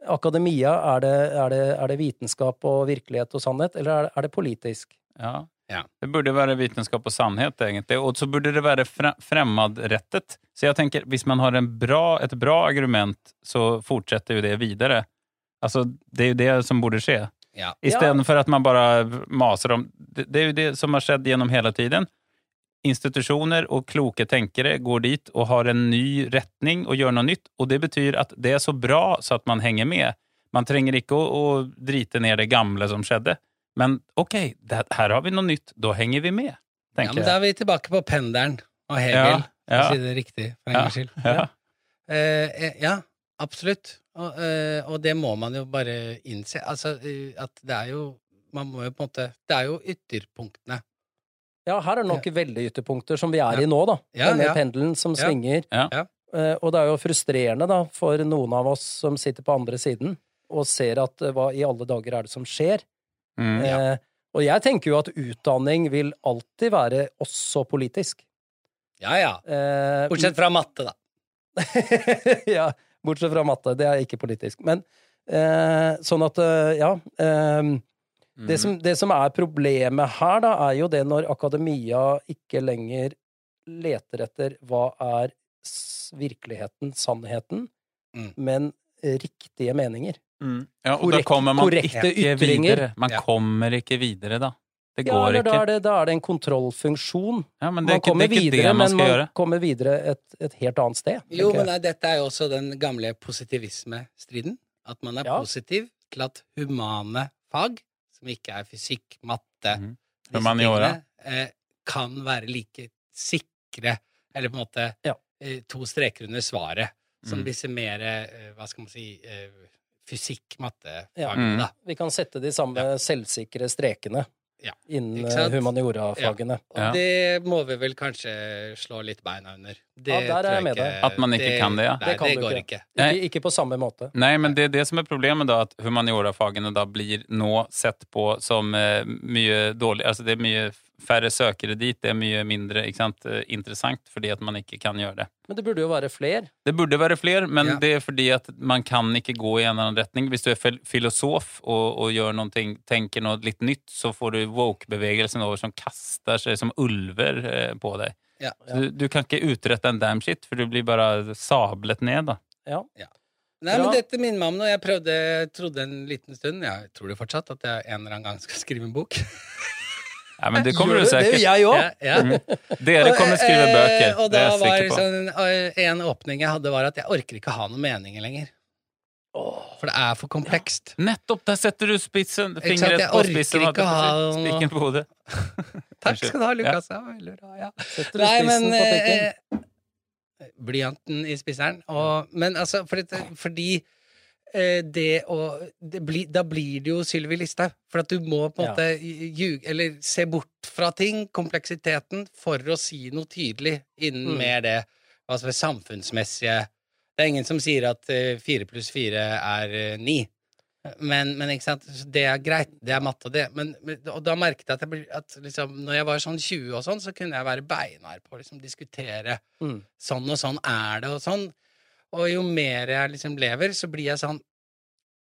akademia. Er det, er, det, er det vitenskap og virkelighet og sannhet, eller er det, er det politisk? Ja. Ja. Det burde være vitenskap og sannhet, egentlig. Og så burde det være fre- fremmedrettet. Så jeg tenker, hvis man har en bra, et bra argument, så fortsetter jo det videre. Altså, det er jo det som burde skje. Ja. Isteden for at man bare maser om det, det er jo det som har skjedd gjennom hele tiden. Institusjoner og kloke tenkere går dit og har en ny retning og gjør noe nytt, og det betyr at det er så bra så at man henger med. Man trenger ikke å, å drite ned det gamle som skjedde. Men ok, det, her har vi noe nytt, da henger vi med, ja, tenker men da er vi tilbake på pendelen og jeg. Hegel, for å si det riktig, for en gangs skyld. ja, ja. Eh, eh, ja, absolutt. Og, eh, og det må man jo bare innse. Altså, eh, at det er jo Man må jo på en måte Det er jo ytterpunktene. Ja, her er det nok veldig ytterpunkter som vi er i nå, da. Ja, Denne ja. pendelen som Ja. svinger. Ja. Ja. Eh, Og det er jo frustrerende, da, for noen av oss som sitter på andre siden og ser at eh, hva i alle dager er det som skjer? Mm. Eh, og jeg tenker jo at utdanning vil alltid være også politisk. Ja, ja. Eh, Bortsett fra matte, da. ja, bortsett fra matte. Det er ikke politisk. Men eh, sånn at, eh, ja ehm, Mhm. det, som, det som er problemet her, da, er jo det når akademia ikke lenger leter etter hva er s- virkeligheten, sannheten, Mm. men riktige meninger. Mm. Ja, og da korrekt- kommer man korrekte ikke ytringer. videre. Man Ja. kommer ikke videre, da. Det Ja, går eller da ikke. er, det, da er det en kontrollfunksjon. Ja, men det er Man ikke det, kommer er ikke videre, det man men skal man gjøre. kommer videre et, et helt annet sted. Jo, tenker men jeg. nei, dette er jo også den gamle positivismestriden. At man er Ja. positiv til at humane fag, som ikke er fysikk, matte Mhm. disse Humaniora. tingene, eh, kan være like sikre, eller på en måte Ja. Mhm. eh, to streker under svaret, som Mm. disse mer eh, Hva skal man si eh, Ja. Mhm. Fysikk-matte-fagene, Mm. da. Vi kan sette de samme selvsikre strekene Ja. innen Ikke sant? eh, humaniorafagene. Og Ja. det må vi vel kanskje slå litt beina under. Det Ja, der er jeg med deg. At man ikke kan det, ja. Nei, Det kan det du går ikke. ikke. Nei. Ikke, ikke på samme måte. Nei, men det er det som er problemet, da, at humaniorafagene da blir nå sett på som eh, mye dårlig Altså, det er mye færre søkere dit, det er mye mindre ikke sant, eh, interessant fordi at man ikke kan gjøre det. Men det burde jo være fler. Det burde være flere, men Ja. det er fordi at man kan ikke gå i en annen retning. Hvis du er fil- filosof og, og gjør noe, tenker noe litt nytt, så får du woke-bevegelsen over som kaster seg som ulver eh, på deg. Ja. Så Du, du kan ikke utrette en damn shit, for du blir bare sablet ned, da. Ja. Nei, Bra. men dette minner meg om noe. Jeg prøvde, trodde en liten stund, jeg tror det fortsatt, at jeg en eller annen gang skal skrive en bok. Ja, men det kommer du Det sikkert. gjør jeg òg! Ja, ja. Mm. Dere kommer skrive bøker, Eh, Og det da er jeg var sikker på. sånn, eh, en åpning jeg hadde, var at jeg orker ikke ha noen meninger lenger. For det er for komplekst. Nettopp! Der setter du spitsen, Ikke sant, fingret jeg på orker spissen. ikke holdt jeg på å si. ha noe- Spikken på hodet. Takk skal du ha, Ja. Lukas. Ja, veldig bra, ja. Setter du Nei, men spissen på pikken? eh, Blyanten i spisseren. Og, men altså, fordi, fordi eh, det å det blir- Da blir det jo Sylvi Listhaug. For at du må på en Ja. måte ljuge Eller se bort fra ting, kompleksiteten, for å si noe tydelig innen Mm. mer det hva som er samfunnsmessige Det er ingen som sier at eh, fire pluss fire er eh, ni. Men, men ikke sant? Så det er greit, det er matte og det. Men, men, og da merket jeg at, jeg ble, at liksom, når jeg var sånn 20 og sånn, så kunne jeg være beinhard på å liksom, diskutere Mm. sånn og sånn er det og sånn. Og jo mer jeg liksom lever, så blir jeg sånn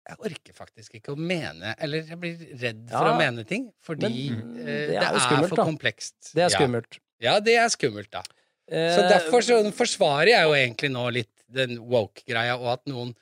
Jeg orker faktisk ikke å mene Eller jeg blir redd for Ja. å mene ting, fordi Men, mm, eh, det er det, jo er skummelt, for da. komplekst. Det Ja. er skummelt. Ja, det er skummelt, da. Eh, Så derfor så forsvarer jeg jo egentlig nå litt den woke-greia, og at noen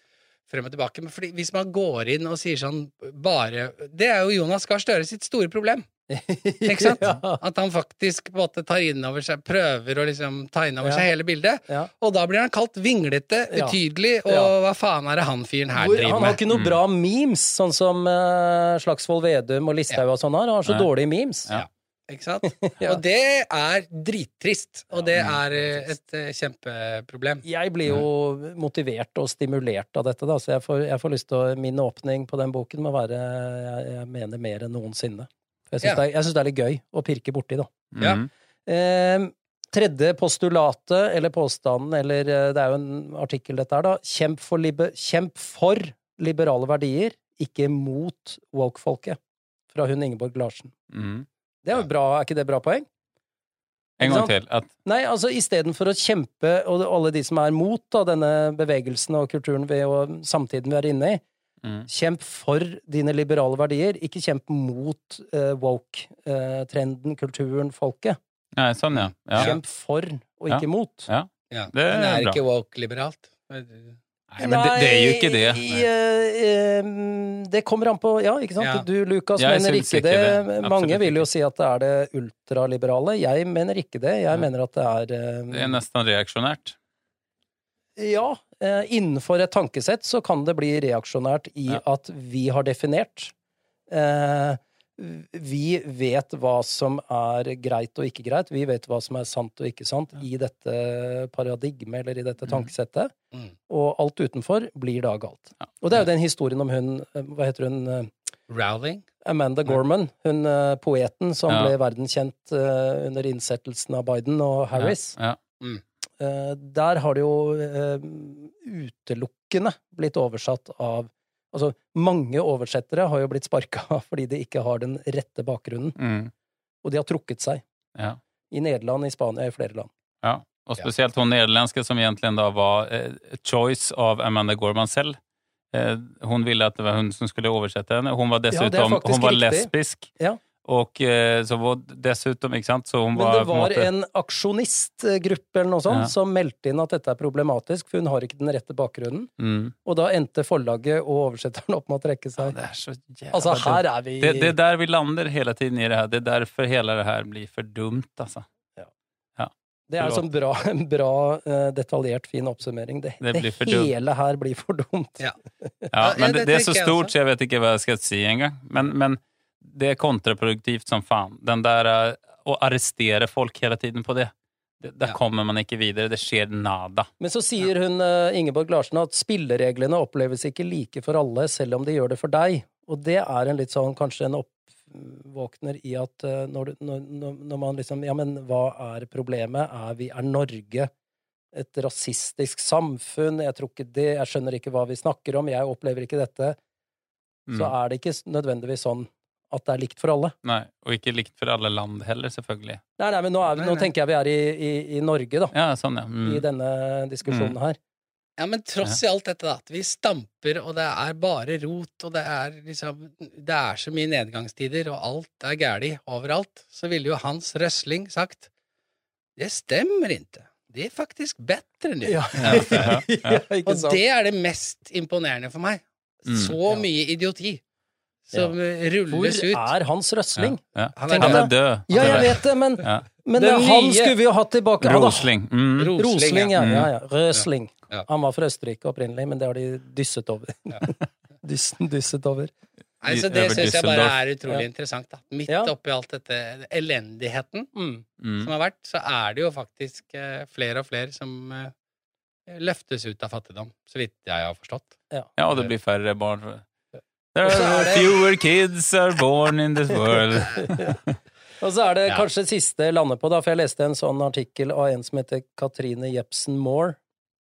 frem og tilbake Men fordi hvis man går inn og sier sånn bare Det er jo Jonas Gahr Støre sitt store problem. Ikke sant? Ja. At han faktisk på en måte tar inn over seg Prøver å liksom ta inn over Ja. seg hele bildet. Ja. Og da blir han kalt vinglete, Ja. utydelig, og Ja. hva faen er det han fyren her Hvor, driver han har med? ikke noe Mm. bra memes, sånn som eh, Slagsvold Vedum og Listhaug og sånn har. Han har Ja. så dårlige memes. Ja. Ikke sant? Ja. Og det er drittrist, og det Ja, er eh, et eh, kjempeproblem. Jeg blir jo motivert og stimulert av dette, da, så jeg får, jeg får lyst til å Min åpning på den boken må være Jeg, jeg mener mer enn noensinne. Jeg syns Ja. det, er- jeg synes det er litt gøy å pirke borti, da. Ja. Mhm. Eh, tredje postulatet, eller påstanden, eller eh, det er jo en artikkel dette er, da. Kjemp for, libe kjemp for liberale verdier, ikke mot woke-folket. Fra hun Ingeborg Larsen. Mhm. Det er jo bra, er ikke det bra poeng? En Ikke gang sant? til. At, Nei, altså istedenfor å kjempe, og alle de som er mot da, denne bevegelsen og kulturen vi, og samtiden vi er inne i, mhm. kjemp for dine liberale verdier, ikke kjemp mot eh, woke-trenden, kulturen, folket. Nei, sånn, ja. ja. Kjemp for, og Ja. ikke mot. Ja. Det er Men er bra. ikke woke-liberalt. Ja, Nei, men det, det er jo ikke det. Nei, eh, eh, det kommer an på Ja, ikke sant? Ja. Du, Lukas, Jeg mener syns ikke ikke det. det. Mange Absolutt vil jo si at det er det ultraliberale. Jeg mener ikke det. Jeg mener at det er, eh, Det er nesten reaksjonært. Ja. eh, Innenfor et tankesett så kan det bli reaksjonært i Ja. at vi har definert. Eh, vi vet hva som er greit og ikke greit. Vi vet hva som er sant og ikke sant i dette paradigmet eller i dette tankesettet. Mm. Og alt utenfor blir da galt. Og det er jo den historien om hun eh, Hva heter hun? eh, Rowling? Amanda Gorman, hun eh, poeten som Ja. ble verdenskjent eh, under innsettelsen av Biden og Harris. Ja. Eh, der har det jo eh, utelukkende blitt oversatt av Altså, mange oversettere har jo blitt sparka fordi de ikke har den rette bakgrunnen, Ja. Mhm. og de har trukket seg. ja. I Nederland, i Spania, i flere land. Ja, og spesielt hun nederländska som egentligen då var eh, choice av Amanda Gorman selv. Eh, hon ville att det var hon som skulle översätta henne. Hon var det är dessutom faktiskt hon var riktigt. lesbisk. Ja. Och eh, så var dessutom, ikke sant, så hon Men det var... på var måte- en aksjonistgruppe eller noe sånt Ja. som meldte inn at dette er problematisk, for hun har ikke den rette bakgrunnen. Mm. Og da endte forlaget og oversetteren opp med å trekke Ja, seg. det är så jävla Altså, dumt. her er vi det, det är där vi landar hela tiden i det här. Det är därför hela det här blir för dumt altså. alltså. Det er en sånn bra, en bra eh, detaljert, fin oppsummering. Det, Det det, blir for dumt. hele her blir for dumt. Ja. Ja, Ja, men det det, det er så tenker jeg stort, også. så jeg vet ikke hva jeg skal si engang. Men, men det er kontraproduktivt som faen. Den der eh, Å arrestere folk hele tiden på det. det der Ja. kommer man ikke videre. Det skjer nada. Men så sier hun eh, Ingeborg Larsen at spillereglene oppleves ikke like for alle, selv om de gjør det for deg. Og det er en litt sånn, kanskje en oppvåkner i at eh, når, du- når, når- når man liksom Ja, men hva er problemet? Er vi Er Norge et rasistisk samfunn? Jeg tror ikke det. Jeg skjønner ikke hva vi snakker om. Jeg opplever ikke dette. Mm. Så er det ikke s- nødvendigvis sånn at det er likt for alle. Nei, og ikke likt for alle land heller, selvfølgelig. Nei, nei, men nå, er, vi- Nei, nå nei. tenker jeg vi er i, i, i Norge, da. Ja, sånn, ja. I Mm. denne diskusjonen her. Ja, men tross i alt dette, da, at vi stamper, og det er bare rot, og det er liksom Det er så mye nedgangstider, og alt er gæli overalt, så ville jo Hans Røsling sagt Det stemmer ikke. Det er faktisk bedre nå. Ja. Ja, ja. ikke Og det er det mest imponerende for meg. Mm. Så Ja. mye idioti som rulles ut. Hvor er Hans Ja, Røsling? ja. Han Han, er er død. død. Altså, Ja, jeg vet det, men, Ja. men Den han nye- skulle vi jo hatt tilbake. Han, Rosling. Mm. Rosling, Rosling, ja. ja. ja, ja. Røsling. Ja. Han var fra Østerrike opprinnelig, men det har de dysset over. Dyssen dysset over. Nei, i- så det over syns jeg bare Düsseldorf. er utrolig Ja. interessant. da. Midt Ja. oppi alt dette elendigheten som Mm. har vært, så er det jo faktisk eh, flere og flere som eh, løftes ut av fattigdom, så vidt jeg har forstått. Ja, og det blir færre barn. There Så er are det- fewer kids are born in this world. Og så er det Ja. kanskje siste jeg lander på, da, for jeg leste en sånn artikkel av en som heter Katrine Jepsen Moore.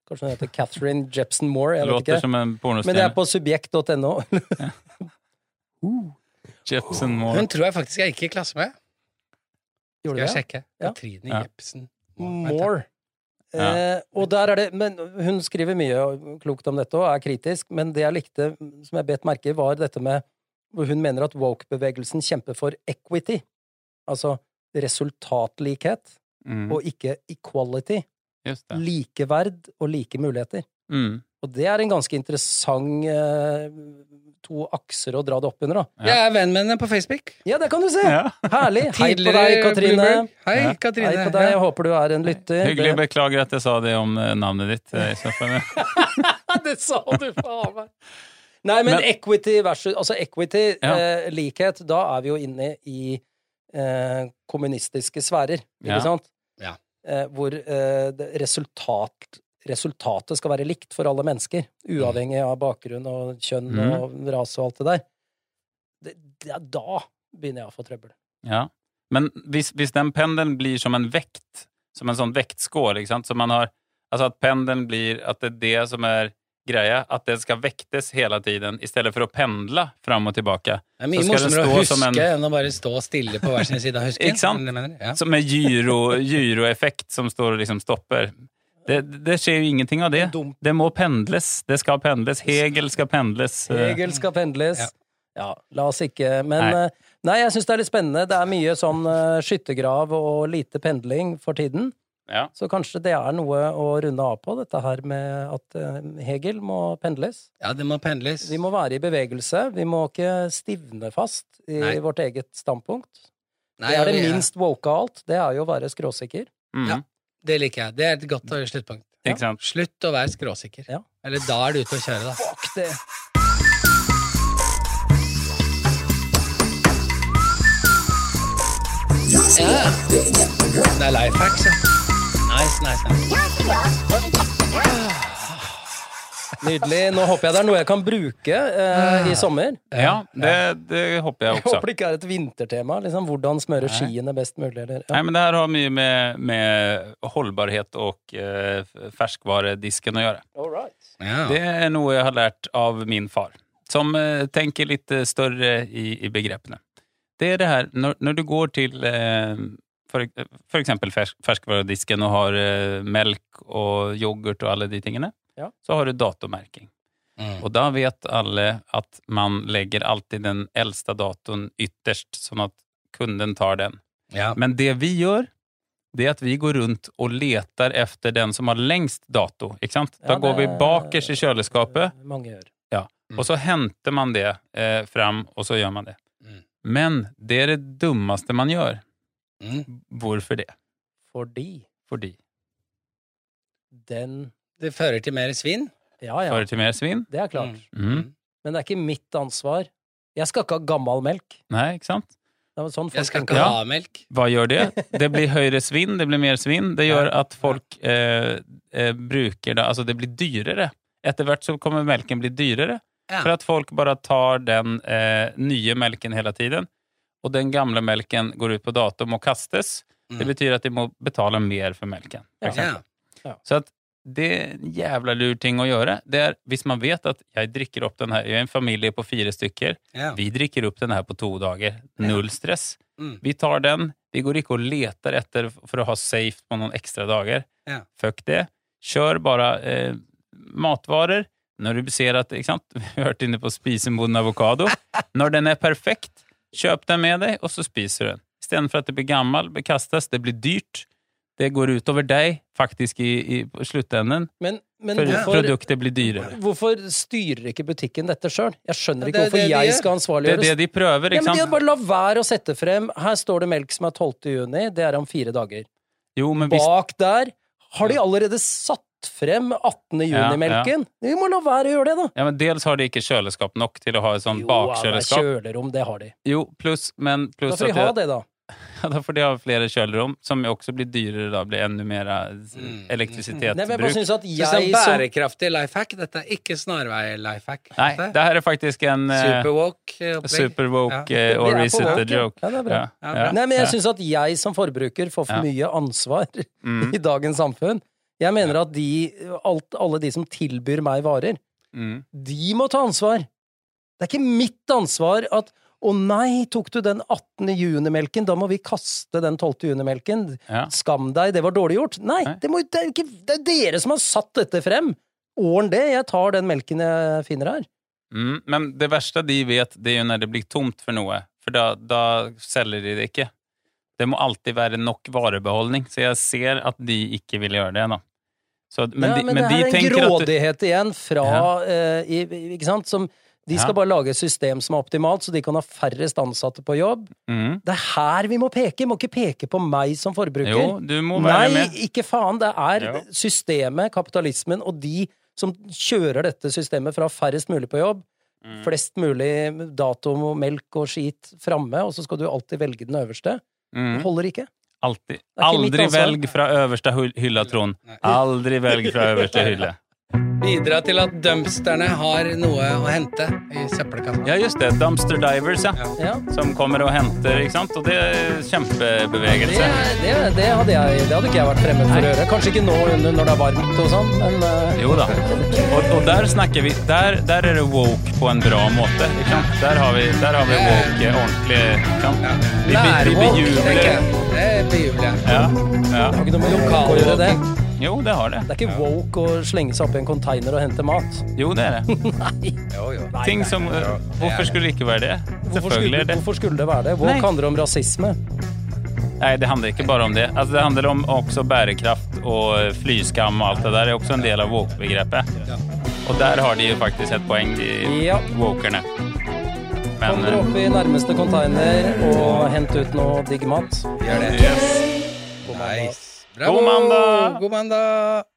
Kanskje hun heter Catherine Jepsen Moore, jeg vet Låter ikke. som en Men det er pornostjerne. på subjekt.no. Jepsen Moore. Hun tror jeg faktisk jeg gikk i klasse med. Skal Gjorde jeg det? sjekke? Ja. Katrine Ja. Jepsen. More. Ja. Eh, og der er det, men Hun skriver mye klokt om dette og er kritisk, men det jeg likte, som jeg bet merke i, var dette med hvor hun mener at woke-bevegelsen kjemper for equity, altså resultatlikhet, Mm. og ikke equality, Just det. likeverd og like muligheter. Mm. Og det er en ganske interessant eh, to akser å dra det opp under, da. Ja. Jeg er venn med henne på Facebook. Ja, det kan du se! Ja. Herlig! Hei på deg, Tidligere Katrine. Bluebird. Hei, Ja. Katrine. Hei på deg. Jeg Ja. håper du er en lytter. Hyggelig. Det, Beklager at jeg sa det om eh, navnet ditt. eh, i så fall. det sa du faen meg! Nei, men, Men- equity versus Altså equity, Ja. eh, likhet, da er vi jo inne i eh, kommunistiske sfærer, ikke Ja. sant? Ja. Eh, hvor eh, det- resultat, resultatet skal være likt for alle mennesker, uavhengig av bakgrunn og kjønn Mm. og rase og alt det der. Det, det, er da begynner jeg å få trøbbel. Ja. Men hvis, hvis den pendelen blir som en vekt, som en sånn vektskål ikke sant? Så man har, Altså at pendelen blir at det er det som er greia, at det skal vektes hele tiden i stedet for å pendle fram og tilbake. Det er mye Så skal den morsommere å stå som huske en- enn å bare stå stille på hver sin side av husken. Ikke sant? Er det det du mener? Ja. Som en gyro, gyroeffekt som står og liksom stopper. Det, det skjer jo ingenting av det. Dumt. Det må pendles. Det skal pendles. Hegel skal pendles. Regel skal pendles. Eh, Ja. Ja. la oss ikke Men Nei. eh, nei, jeg syns det er litt spennende. Det er mye sånn eh, skyttergrav og lite pendling for tiden. Ja. Så kanskje det er noe å runde av på, dette her med at eh, Hegel må pendles. ja, det må pendles. Vi må være i bevegelse. Vi må ikke stivne fast i Nei. vårt eget standpunkt. Nei, det er det vi- minst woke av alt. Det er jo å være skråsikker. Mm. Ja. Det liker jeg. Det er et godt og sluttpunkt. Ikke sant? Slutt å være skråsikker. Ja. Eller da er du ute å kjøre, da. Fuck det! Det er life hacks, ja. Nice, nice, nice. Nydelig. Nå håper jeg det er noe jeg kan bruke eh, Ah. i sommer. Ja, det, det håper jeg Jeg også. håper det ikke er et vintertema. Liksom, hvordan smøre skiene best mulig. Eller, ja. Nei, men det her har mye med, med holdbarhet og eh, ferskvaredisken å gjøre. All right. Ja. Det er noe jeg har lært av min far, som eh, tenker litt eh, større i, i begrepene. Det er det her, når, når du går til eh, for, for eksempel fersk, ferskvaredisken og har eh, melk og yoghurt og alle de tingene, Ja. så har du datomerking. Mm. Og da vet alle at man legger alltid den eldste datoen ytterst, sånn at kunden tar den. ja. Men det vi gjør, det er at vi går rundt og leter efter den som har lengst dato. Ikke sant? Da Ja, går vi det- bakers i kjøleskapet, Eh, Mange gjør. og så henter man det eh, fram, og så gjør man det. Mm. Men det er det dummaste man gjør. Mm. Hvorfor det? Fordi Fordi den Det fører til mer svinn. Ja, ja. fører til mer svinn. Det er klart. Mm. Men det er ikke mitt ansvar. Jeg skal ikke ha gammal melk. Nei, ikke sant? Det er sånn Jeg folk skal tenker. ikke Ja. ha melk. Hva gjør det? Det blir høyere svinn, det blir mer svinn. Det gjør at folk eh, eh, bruker det Altså, det blir dyrere. Etter hvert så kommer melken bli dyrere. Ja. For at folk bare tar den eh, nye melken hele tiden, og den gamle melken går ut på datum og kastes. Det Mm. betyr at de må betale mer for melken. for Ja. eksempel. Ja. Så at det er en jævla lur ting å gjøre. Det er, hvis man vet at jeg drikker opp den her, jeg er en familie på fire stykker, Ja. vi drikker opp den her på to dager. Null stress. Mm. Vi tar den. Vi går ikke og leter etter for å ha safe på noen ekstra dager. Ja. Fuck det. Kjør bare eh, matvarer. Når du ser at ikke sant? Vi har vært inne på å spise en moden avokado. Når den er perfekt, kjøp den med deg, og så spiser du den. Istedenfor at det blir gammel, bekastes, det blir dyrt. Det går utover deg, faktisk, i, i på sluttenden. Men, men For hvorfor, produktet blir dyrere. hvorfor styrer ikke butikken dette sjøl? Jeg skjønner Det ikke er det hvorfor de jeg gjør. skal Det er ansvarliggjøres. det de prøver, Ja, ikke men de sant? hadde bare la være å sette frem Her står det melk som er 12. juni, det er om fire dager. Jo, men hvis Bak der har de allerede satt frem 18. juni-melken. Vi må la være å gjøre det, da. Ja, men dels har de ikke kjøleskap nok til å ha et sånt Jo, ja, det er bakkjøleskap. kjølerom, det har de. Jo, pluss, men Da pluss får de at ha det, det, da. ja, da får de ha flere kjølerom, som jo også blir dyrere da, blir enda mer eh, Mm. Nei, men jeg bare elektrisitetsbruk. synes at Så det er jeg som bærekraftig life hack. Dette er ikke snarvei-life hack. Nei, det her er faktisk en eh, Superwalk-opplegg. super woke Ja. eh, or Vi er på is it a woke, ja. joke? Ja, det er bra. Ja, bra. Nei, men jeg syns at jeg som forbruker får for Ja. mye ansvar Mm, i dagens samfunn. Jeg mener at de, alt, alle de som tilbyr meg varer, mm. de må ta ansvar. Det er ikke mitt ansvar at å nei, tok du den 18. juni-melken, da må vi kaste den 12. juni-melken. Ja. Skam deg, det var dårlig gjort. Nei, Nei. Det, må, det, er jo ikke, det er dere som har satt dette frem! Ordn det, jeg tar den melken jeg finner her. Mm. Men det verste de vet, det er jo når det blir tomt for noe, for da, da selger de det ikke. Det må alltid være nok varebeholdning, så jeg ser at de ikke vil gjøre det. da. Så, men, ja, de, men, men det de her er en tenker at du, grådighet igjen fra Ja. eh, i, i- Ikke sant? Som, de skal Ja. bare lage et system som er optimalt, så de kan ha færrest ansatte på jobb. mm, Det er her vi må peke! Må ikke peke på meg som forbruker. Jo, du må være Nei, med. ikke faen! Det er Jo. systemet, kapitalismen, og de som kjører dette systemet fra færrest mulig på jobb, Mm. flest mulig dato og melk og skit framme, og så skal du alltid velge den øverste. Det Mm, holder ikke. alltid. er ikke mitt Aldri ansvar. velg fra øverste hyll- hylla, Trond. Nei. Aldri velg fra øverste hylle. Bidra til at dumpsterne har noe å hente i søppelkassa. Ja, just det. Dumpster divers, ja. Ja. Som kommer og henter, ikke sant? Og det er Det, kjempebevegelse. er- det, det, hadde jeg, det hadde ikke jeg vært fremmed for å gjøre. Kanskje ikke nå under når det er varmt og sånn, men eh, Jo da. Og, og der snakker vi der, der er det woke på en bra måte. Ikke sant? Der har vi, der har vi woke eh, ordentlig. Ikke sant? Vi, vi, vi tenker bejubler. jeg. Det bejubler jeg. Ja, ja. det har ikke noe med woke å gjøre, det. Jo, det har det. Det er ikke woke å slenge seg opp i en container og hente mat. Jo, det er det. Nei! Jo, jo. Ting som eh, Hvorfor skulle det ikke være det? Hvorfor Selvfølgelig skulle, er det hvorfor skulle det være det? Woke Nei. handler om rasisme. Nei, det handler ikke bare om det. Altså, det handler om også bærekraft og eh, flyskam og alt det der. Det er også en del av woke-begrepet. Og der har de jo faktisk et poeng, de Ja. wokerne. Kom Men dere eh, opp i nærmeste container og hent ut noe digg mat. Gjør det. yes. Nice. God mandag! God mandag!